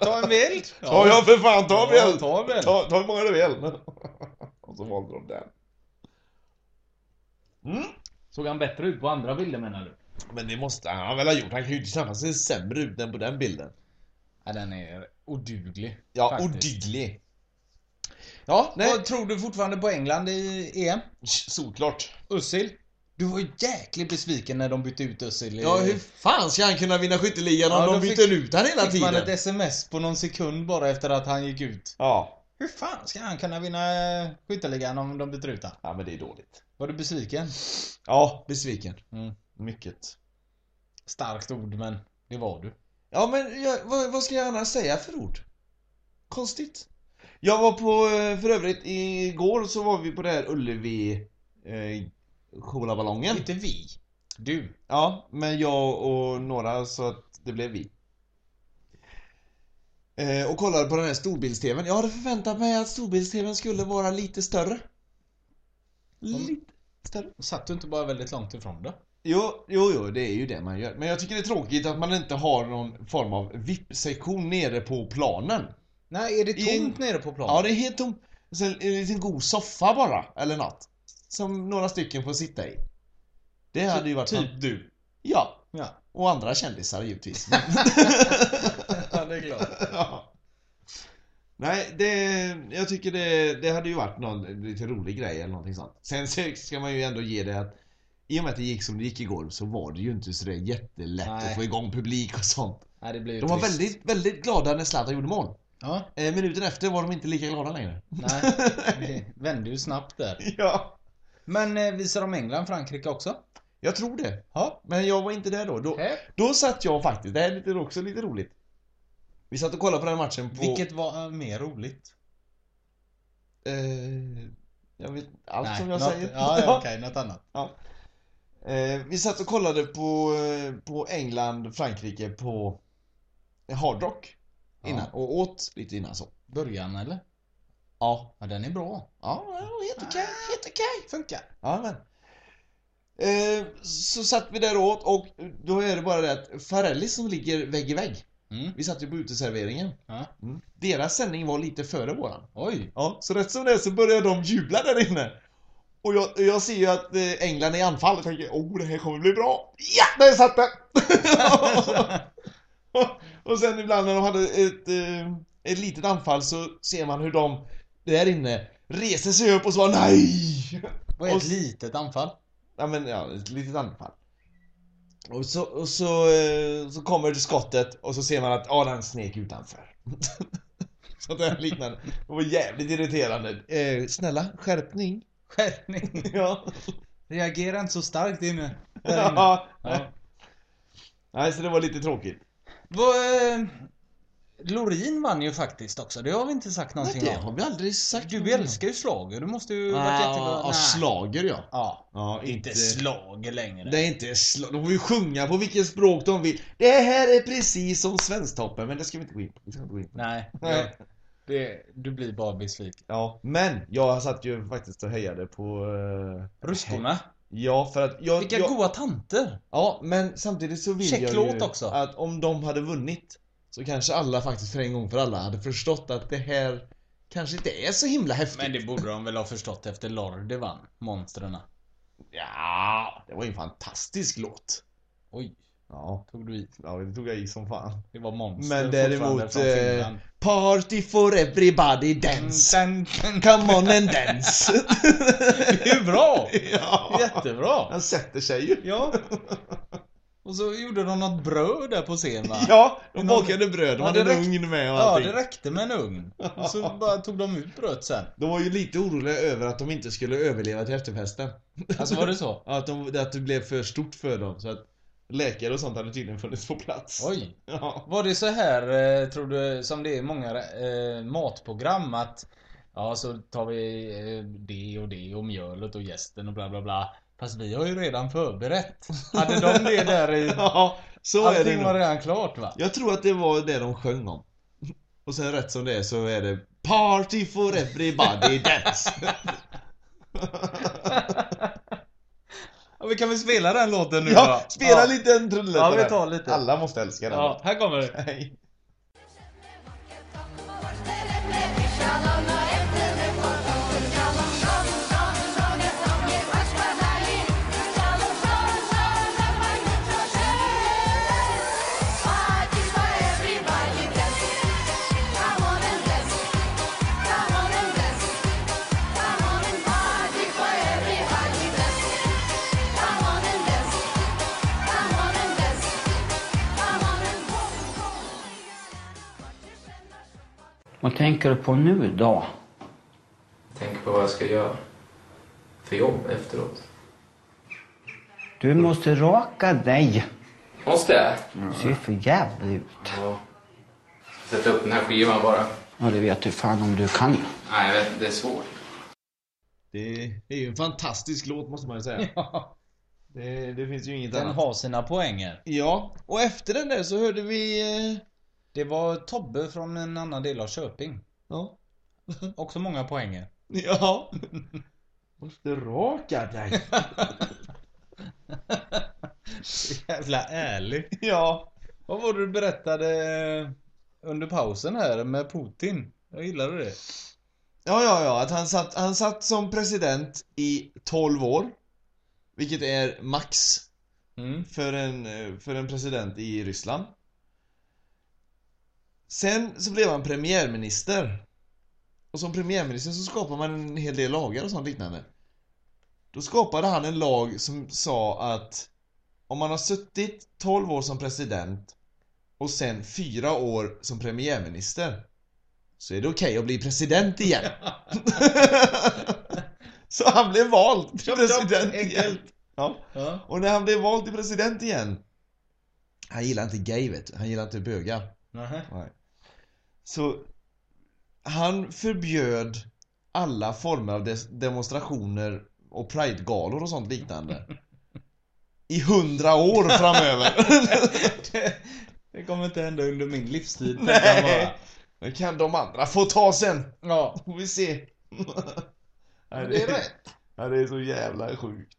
G: Ta en bild!
F: Ta jag för fan, ta
G: Ja,
F: väl!
G: ta en bild.
F: Ta, ta hur många du vill. Och så valde de den. Mm.
G: Såg han bättre ut på andra bilder menar du?
F: Men det måste han väl ha gjort. Han kan ju inte knappast se sämre ut än på den bilden.
G: Ja, den är oduglig.
F: Ja,
G: faktiskt.
F: odyglig. Ja, nej.
G: Vad tror du fortfarande på England i EM?
F: Solklart.
G: Özil? Du var ju jäkligt besviken när de bytte ut Özil. i-
F: Ja, hur fan ska han kunna vinna skytteligan
G: Ja,
F: om
G: då
F: de
G: fick-
F: byter ut han hela
G: Fick man ett
F: tiden?
G: sms på någon sekund bara efter att han gick ut.
F: Ja.
G: Hur fan ska han kunna vinna eh, skytteligan om de byter ut han?
F: ja, men det är dåligt.
G: Var du besviken?
F: Ja, besviken.
G: Mm.
F: Mycket.
G: Starkt ord, men det var du.
F: Ja, men jag, vad, vad ska jag annars säga för ord? Konstigt. Jag var på, eh, för övrigt, igår så var vi på det här Ullevi eh, Colaballongen.
G: Inte vi. Du.
F: Ja, men jag och några så att det blev vi. Eh, och kollade på den här storbilds-tvn. Jag hade förväntat mig att storbilds-tvn skulle vara lite större. Lite större.
G: Satt du inte bara väldigt långt ifrån det?
F: Jo, jo, jo, det är ju det man gör. Men jag tycker det är tråkigt att man inte har någon form av VIP-sektion nere på planen.
G: Nej, är det
F: I-
G: tomt nere på planen?
F: Ja, det är helt tomt. Sen är det en liten god soffa bara, eller något. Som några stycken får sitta i. Det hade ju varit...
G: Typ
F: fan-
G: du.
F: Ja.
G: Ja.
F: Och andra kändisar givetvis.
G: ja, det är klart.
F: ja. Nej, det, jag tycker det, det hade ju varit någon lite rolig grej eller någonting sånt. Sen så ska man ju ändå ge det att i och med att det gick som det gick igår så var det ju inte sådär jättelätt
G: Nej.
F: att få igång publik och sånt.
G: Nej, det blir ju
F: De var
G: trist.
F: väldigt, väldigt glada när Zlatan gjorde mål.
G: Ja,
F: Eh, minuten efter var de inte lika glada längre.
G: nej. Det vände ju snabbt där.
F: ja.
G: Men eh, visar de England Frankrike också?
F: Jag tror det.
G: Ja.
F: Men jag var inte där då. Då,
G: Okej.
F: då satt jag faktiskt, det här är lite, också lite roligt. Vi satt och kollade på den matchen på...
G: Vilket var eh, mer roligt?
F: Eh, jag vet allt som jag
G: något,
F: säger.
G: Ja, ja, okej, något annat.
F: Eh, vi satt och kollade på, eh, på England, Frankrike på Hard Rock innan
G: Ja.
F: och åt lite innan så.
G: Början eller?
F: Ja.
G: Ja, den är bra.
F: Ja, det var helt okej, helt okej.
G: Funkar.
F: Ja, men. Eh, så satt vi där och åt och då är det bara det att Farelli som ligger vägg i vägg.
G: Mm.
F: Vi satt ju på uteserveringen.
G: Ja.
F: Mm. Deras sändning var lite före våran.
G: Oj!
F: Ja, så rätt som det är så börjar de jubla där inne. Och jag, jag ser ju att eh, England är i anfall och tänker oh det här kommer bli bra. Ja, där satt den! Och- och sen ibland när de hade ett, eh, ett litet anfall så ser man hur de där inne reser sig upp och svarar nej!
G: Vad är
F: Och
G: ett
F: s-
G: litet anfall?
F: Ja men ja, ett litet anfall. Och så, och så, eh, så kommer skottet och så ser man att ah, den snek utanför. Sånt där liknande. Det var jävligt irriterande. Eh, snälla, skärpning.
G: Skärpning!
F: Ja.
G: Reagera inte så starkt inne. Där inne.
F: ja.
G: Ja.
F: Nej, så det var lite tråkigt.
G: Vad, eh, Lorin vann ju faktiskt också, det har vi inte sagt någonting om.
F: vi aldrig sagt.
G: Du älskar ju schlager, du måste ju varit
F: Nej,
G: jättebra.
F: ja, slager ja.
G: Ja,
F: Ja,
G: inte slager längre.
F: Det är inte slag. De får ju sjunga på vilket språk de vill. Det här är precis som Svensktoppen, men det ska vi inte gå in på. Det ska vi inte gå in på.
G: Nej.
F: Nej.
G: jag- Det, du blir bara besviken.
F: Ja, men jag satt ju faktiskt och hejade på... eh,
G: Ruskorna.
F: Ja, för att jag...
G: Vilka
F: jag,
G: goa tanter!
F: Ja, men samtidigt så vill jag
G: Checklåt
F: ju
G: också.
F: att om de hade vunnit så kanske alla faktiskt för en gång för alla hade förstått att det här kanske inte är så himla häftigt.
G: Men det borde de väl ha förstått efter Lorde vann, monstren.
F: Ja, det var ju en fantastisk låt.
G: Oj,
F: Ja,
G: tog du i.
F: ja det tog jag i som fan.
G: Det var monster
F: Men
G: fortfarande
F: däremot...
G: från
F: Eh,
G: Finland.
F: party for everybody dance.
G: Sen, sen,
F: Come on and dance.
G: det är ju bra!
F: ja.
G: Jättebra!
F: Han sätter sig ju.
G: Ja. Och så gjorde de något bröd där på scen va?
F: Ja, de
G: Någon-
F: bakade bröd. De
G: Ja,
F: hade en
G: det räck-
F: ugn med och
G: Ja,
F: allting.
G: det räckte med en ugn. Och så bara tog de ut bröd sen.
F: De var ju lite oroliga över att de inte skulle överleva till efterfesten.
G: Alltså var det så?
F: Ja, Att, de, att det blev för stort för dem. Så att läkare och sånt hade tydligen funnits på plats.
G: Oj.
F: Ja.
G: Var det så här, eh, tror du, som det är i många eh, matprogram att Ja, så tar vi eh, det och det och mjölet och gästen och bla bla bla. Fast vi har ju redan förberett. Hade de det där i...
F: ja, så är det
G: Allting
F: nog.
G: var redan klart va?
F: Jag tror att det var det de sjöng om. Och sen rätt som det är så är det Party for everybody dance.
G: Ja, vi kan väl spela den låten nu
F: ja,
G: då?
F: spela lite en trudelutt
G: Ja,
F: av
G: vi
F: den.
G: tar lite.
F: Alla måste älska den.
G: Ja, här kommer det.
F: Hej.
J: Vad tänker du på nu då?
K: Tänk på vad jag ska göra för jobb efteråt.
J: Du måste raka dig.
K: Måste jag?
J: Du ser för jävligt ut.
K: Ja. Sätta upp den här skivan bara.
J: Ja, det vet du fan om du kan.
K: Nej, jag vet, det är svårt.
F: Det är ju en fantastisk låt måste man ju säga.
G: Ja,
F: Det, det finns ju inget
G: den
F: annat.
G: har sina poänger.
F: Ja, och efter den där så hörde vi... eh,
G: Det var Tobbe från en annan del av Köping.
F: Ja.
G: Också många poänger.
F: Ja. Måste raka dig.
G: Jävla ärlig.
F: ja.
G: Vad var det du berättade eh, under pausen här med Putin? Jag gillade det.
F: Ja, ja, ja. Att han satt, han satt som president i 12 år. Vilket är max
G: Mm.
F: för en, eh, för en president i Ryssland. Sen så blev han premiärminister. Och som premiärminister så skapar man en hel del lagar och sånt liknande. Då skapade han en lag som sa att om man har suttit 12 år som president och sen 4 år som premiärminister så är det okej att bli president igen. så han blev vald till president igen.
G: enkelt.
F: Ja.
G: Ja.
F: Och när han blev vald till president igen Han gillar inte gay vet du. Han gillar inte bögar
G: Nähä.
F: Nej. Så han förbjöd alla former av des- demonstrationer och pridegalor och sånt liknande. I hundra år framöver.
G: det, det kommer inte hända under min livstid. tänkte han
F: Nej.
G: bara.
F: Det kan de andra få ta sen.
G: Ja,
F: Får vi se. Nej,
G: det är rätt.
F: Ja, det är så jävla sjukt.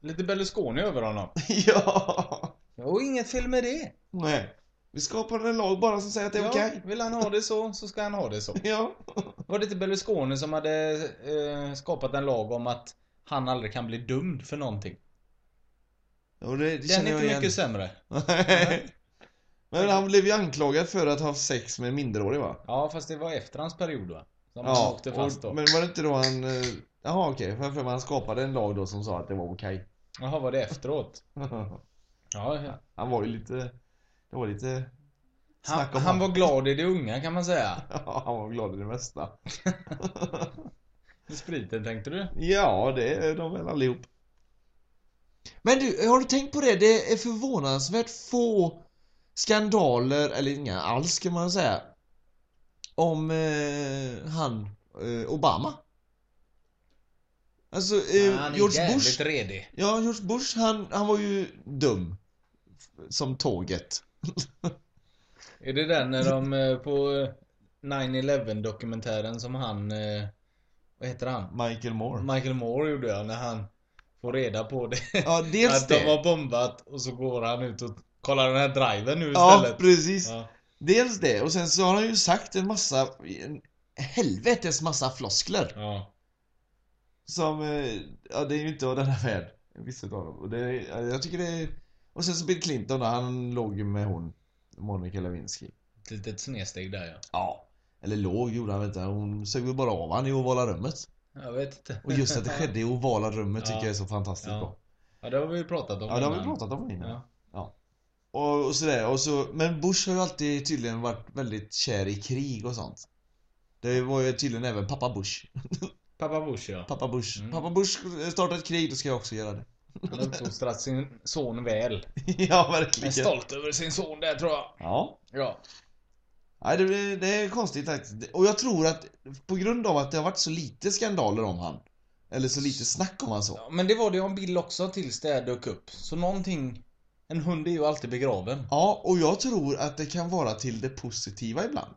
G: Lite Berlusconi över honom.
F: Ja.
G: Och inget fel med det.
F: Nej. Vi skapar en lag bara som säger att det är okej.
G: Vill han ha det så, så ska han ha det så.
F: Ja.
G: Var det inte Berlusconi som hade eh, skapat en lag om att han aldrig kan bli dömd för någonting?
F: Och det, det
G: Den är
F: känner jag
G: inte
F: igen.
G: mycket sämre.
F: Nej. Men han blev ju anklagad för att ha haft sex med en minderårig va?
G: Ja, fast det var efter hans period va? Som han åkte fast då.
F: och, men var det inte då han... eh, Jaha okej, för jag har för mig han skapade en lag då som sa att det var okej.
G: Jaha, var det efteråt? Ja, ja.
F: han var ju lite... Det var lite... Snack
G: Han,
F: om
G: han var glad i det unga kan man säga.
F: Ja, han var glad i det mesta.
G: I spriten tänkte du?
F: Ja, det är de väl allihop. Men du, har du tänkt på det? Det är förvånansvärt få skandaler, eller inga alls kan man säga, om eh, han, eh, Obama. Alltså, eh,
G: han är
F: George
G: jävligt
F: Bush.
G: redig.
F: Ja, George Bush, han, han var ju dum. Som tåget.
G: Är det den när de eh, på eh, 9-11 dokumentären som han... eh, Vad heter han?
F: Michael Moore.
G: Michael Moore gjorde jag när han får reda på det.
F: Ja, dels
G: Att de
F: det.
G: har bombat och så går han ut och kollar den här driven nu
F: Ja,
G: istället.
F: precis.
G: Ja.
F: Dels det, och sen så har han ju sagt en massa, en helvetes massa floskler.
G: ja.
F: Som, eh, ja det är ju inte av denna värld. Vissa av dem. Och det, är- ja, jag tycker det är... Och sen så Bill Clinton då, han låg ju med hon, Monica Lewinsky.
G: Ett litet snedsteg där ja.
F: Ja. Eller låg gjorde han väl inte, hon sög väl bara av han i ovala rummet.
G: Jag vet inte.
F: Och just att det skedde i ovala rummet tycker
G: Ja.
F: jag är så fantastiskt
G: Ja.
F: bra.
G: Ja, det har vi ju pratat om
F: Ja, det har vi
G: innan.
F: pratat om innan.
G: Ja.
F: Och, och sådär, och så, men Bush har ju alltid tydligen varit väldigt kär i krig och sånt. Det var ju tydligen även pappa Bush.
G: Pappa Bush ja.
F: Pappa Bush.
G: Mm.
F: Pappa Bush startar ett krig, då ska jag också göra det.
G: Han har uppfostrat sin son väl.
F: ja,
G: Jag är
F: verkligen.
G: stolt över sin son där tror jag.
F: Ja.
G: Ja.
F: Nej, det, det är konstigt faktiskt. Och jag tror att på grund av att det har varit så lite skandaler om han, eller så lite snack om han så.
G: ja. Men det var det om Bill också tills det här dök upp. Så någonting... En hund är ju alltid begraven.
F: Ja, och jag tror att det kan vara till det positiva ibland.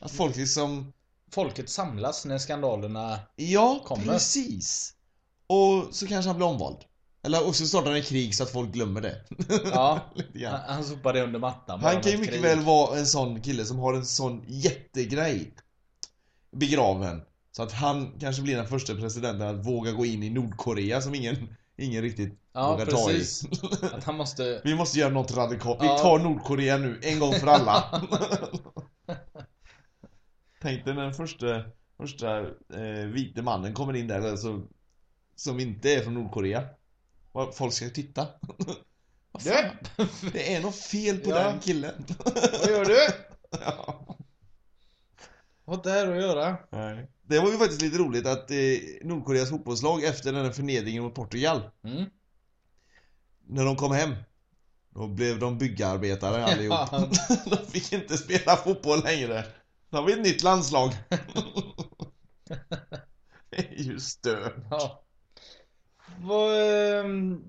F: Att folk liksom,
G: Folket samlas när skandalerna...
F: ja,
G: Kommer.
F: precis. Och så kanske han blir omvald. Eller också startar han ett krig så att folk glömmer det.
G: Ja.
F: Lite
G: Han,
F: grann.
G: han sopar det under mattan. bara
F: Han kan ju
G: med ett
F: mycket
G: krig.
F: väl vara en sån kille som har en sån jättegrej begraven. Så att han kanske blir den första presidenten att våga gå in i Nordkorea som ingen, ingen riktigt
G: Ja,
F: vågar
G: precis.
F: ta i.
G: Att han måste...
F: Vi måste göra något radikalt. Vi
G: Ja.
F: tar Nordkorea nu, en gång för alla. Tänk dig när den första, första eh, vita mannen kommer in där, eller så, som inte är från Nordkorea. Vad Folk ska titta. Vad fan? Det är något fel på
G: Ja.
F: den killen.
G: Vad gör du?
F: Ja.
G: Vad har det här att göra?
F: Nej. Det var ju faktiskt lite roligt att eh, Nordkoreas fotbollslag efter den här förnedringen mot Portugal,
G: Mm.
F: när de kom hem, då blev de byggarbetare allihop.
G: Ja.
F: De fick inte spela fotboll längre. Då har vi ett nytt landslag. Det är ju stört.
G: Ja. Vad, ehm,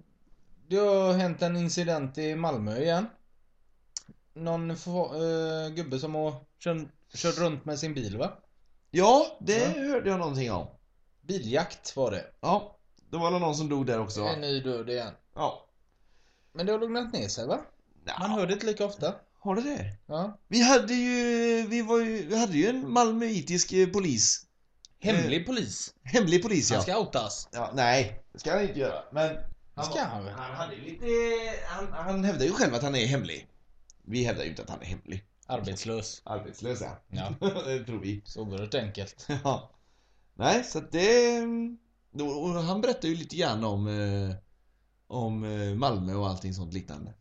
G: det har hänt en incident i Malmö igen. Någon få- eh, gubbe som har kört, kört runt med sin bil va?
F: Ja, det hörde jag någonting om.
G: Biljakt var det.
F: Ja, det var väl någon som dog där också va?
G: En ny död igen.
F: Ja.
G: Men det har lugnat ner sig va? Man
F: ja.
G: hör det inte lika ofta.
F: Har du det?
G: Ja.
F: Vi hade ju, vi var ju, vi hade ju en malmöitisk eh, polis.
G: Hemlig polis.
F: Hemlig polis ja.
G: Han ska outas.
F: Ja, nej, det ska han inte göra. Men
G: Det ska han väl?
F: han, hade ju lite, han, han hävdar ju själv att han är hemlig. Vi hävdar ju inte att han är hemlig.
G: Arbetslös.
F: Arbetslös är
G: Ja.
F: han. Det tror vi.
G: Så oerhört enkelt.
F: Ja. Nej, så att det... mm, och- Och han berättar ju lite grann om, eh, om eh, Malmö och allting sånt liknande.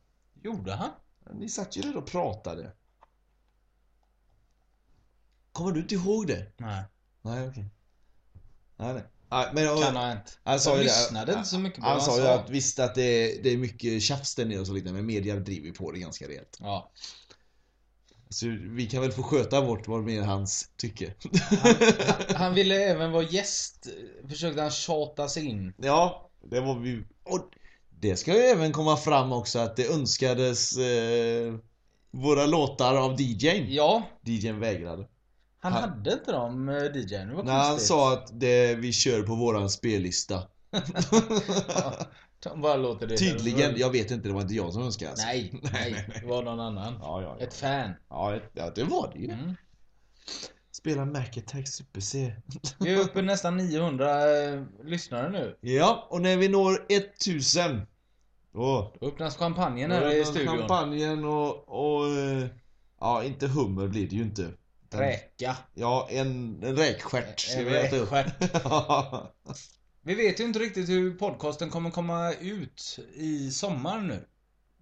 G: Gjorde han?
F: Ni satt ju där och pratade. Kommer du inte ihåg det?
G: Nej.
F: Nej, okej. Nej, nej. Ja, men, och,
G: Kan ha hänt.
F: Han sa
G: Jag
F: ju det-
G: lyssnade inte så mycket på
F: han
G: vad
F: sa ju att visst att det är, det är mycket tjafs där nere och så liknande, men media driver ju på det ganska rejält.
G: Ja.
F: Så vi kan väl få sköta vårt vad mer hans tycke.
G: Han ville även vara gäst. Försökte han tjata sig in.
F: Ja, det var vi... Och det ska ju även komma fram också att det önskades eh, våra låtar av DJn.
G: Ja,
F: DJn vägrade.
G: han
F: Han-
G: hade inte dem eh, DJn. Det var
F: När han
G: konstigt.
F: sa att det, vi kör på våran spellista.
G: De bara låter det.
F: Tydligen, jag vet inte, det var inte jag som önskade. alltså.
G: Nej, nej. Det var någon annan.
F: Ja, ja, ja.
G: Ett fan.
F: Ja, ja, det var det ju.
G: Mm.
F: Spela Mac Attack Super C.
G: Vi är uppe nästan 900 eh, lyssnare nu.
F: Ja, och när vi når 1000 Då
G: Då öppnas champagnen
F: Då
G: här
F: är
G: i
F: den
G: studion.
F: Champagnen och, och... eh, Ja, inte hummer blir det ju inte. Den-
G: Räka.
F: Ja, en, en räkstjärt ska
G: En
F: vi äta upp.
G: räkstjärt.
F: Ja.
G: Eh, Vi vet ju inte riktigt hur podcasten kommer komma ut i sommar nu.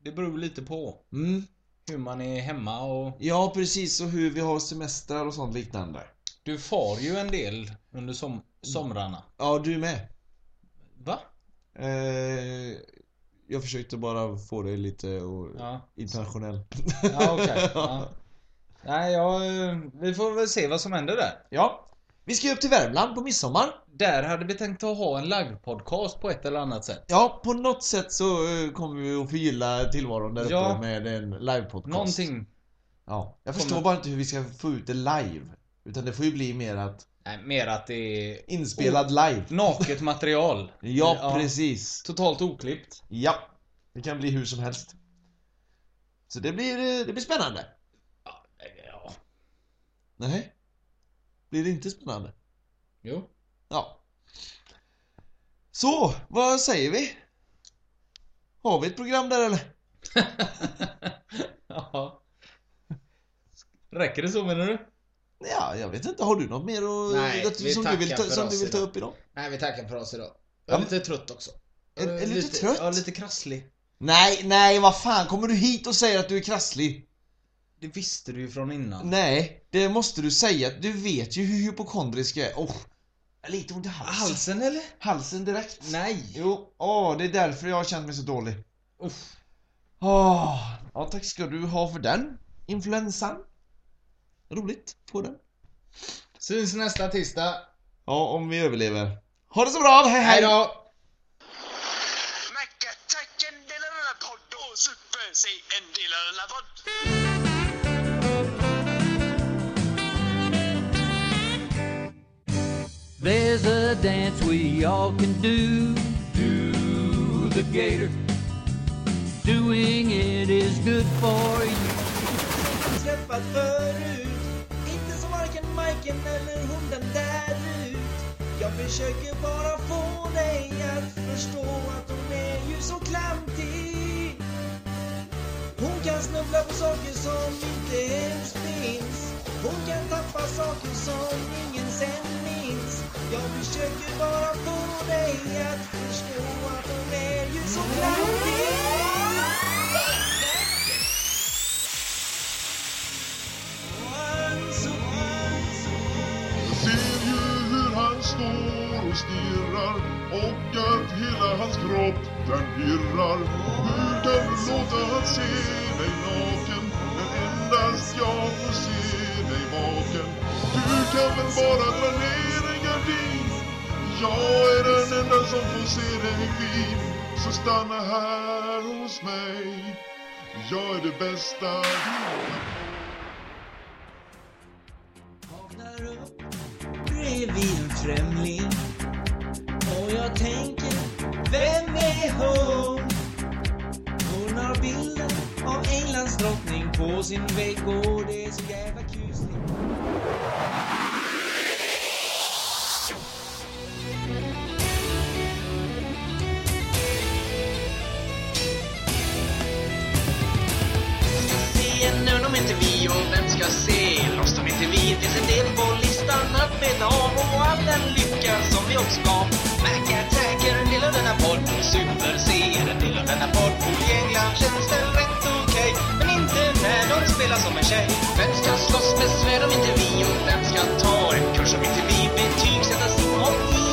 G: Det beror lite på
F: mm.
G: hur man är hemma och...
F: Ja, precis. Och hur vi har semestrar och sånt liknande.
G: Du far ju en del under som somrarna.
F: Ja, du med.
G: Va?
F: Eh, jag försökte bara få dig lite och...
G: Ja,
F: internationell.
G: ja okej. Ja. Nej, ja, eh, vi får väl se vad som händer där.
F: Ja. Vi ska ju upp till Värmland på midsommar.
G: Där hade vi tänkt att ha en live-podcast på ett eller annat sätt.
F: Ja, på något sätt så eh, kommer vi att förgylla tillvaron där uppe
G: Ja.
F: med en livepodcast.
G: Någonting.
F: Ja. Jag förstår
G: Kommer-
F: bara inte hur vi ska få ut det live. Utan det får ju bli mer att
G: Nej, mer att det är
F: inspelad
G: Oh.
F: live.
G: naket material.
F: Ja, precis.
G: Totalt oklippt.
F: Ja. Det kan bli hur som helst. Så det blir, eh, det blir spännande.
G: Ja.
F: Nej. Blir det inte spännande?
G: Jo.
F: Ja. Så, vad säger vi? Har vi ett program där eller?
G: ja. Räcker det så menar du?
F: Ja, jag vet inte. Har du något mer att,
G: Nej,
F: att,
G: vi
F: som du
G: tackar
F: vill, ta,
G: för
F: som du
G: oss
F: vill ta
G: idag.
F: upp idag?
G: Nej, vi tackar för oss idag.
F: Jag är
G: lite trött också.
F: Är, är du lite, trött?
G: Ja, lite krasslig.
F: Nej, nej, vad fan. Kommer du hit och säger att du är krasslig?
G: Det visste du ju från innan.
F: Nej, det måste du säga. Du vet ju hur hypokondrisk jag är. Oh, jag har lite ont i halsen.
G: Halsen eller?
F: Halsen direkt.
G: Alltså. Nej.
F: Jo, åh, det är därför jag har känt mig så dålig.
G: Uff.
F: Åh, ja, tack ska du ha för den. Influensan. Roligt, på den.
G: Syns nästa tisdag.
F: Ja, om vi överlever. Ha det så bra, hej hej!
G: Hej då!
H: Mackattacken delar denna podd och Super sig en delar denna podd.
I: There's a dance we all can do. Do the gator. Doing it is good for you.
E: träffat förut Inte som varken Majken eller hon den där ut Jag försöker bara få dig att förstå att hon är ju så klantig Hon kan snubbla på saker som inte ens finns Hon kan tappa saker som ingen sen minns Jag försöker bara få dig att förstå att hon är ju så klantig Once, once,
D: Ser ju hur han står och stirrar och att hela hans kropp den pirrar. Hur kan du låta han se dig naken när endast jag får se dig vaken? Du kan väl bara dra ner en gardin? Jag är den enda som får se dig fin. Så stanna här hos mig. Jag är det bästa du har.
E: vaknar upp bredvid en främling och jag tänker, vem är hon? Hon har bilden av Englands drottning på sin vägg och det är så jävla kusligt Serien nu om inte vi och vem ska se? Lost om inte vi, det finns en del på listan att beta av och all den lycka som vi också gav. Mac Attack är en del av denna podd, Super C är en del av denna podd. I England känns det rätt okej, men inte när de spelar som en tjej. Vem ska slåss med svärd om inte vi och vem ska ta en kurs om inte vi betygsättas om i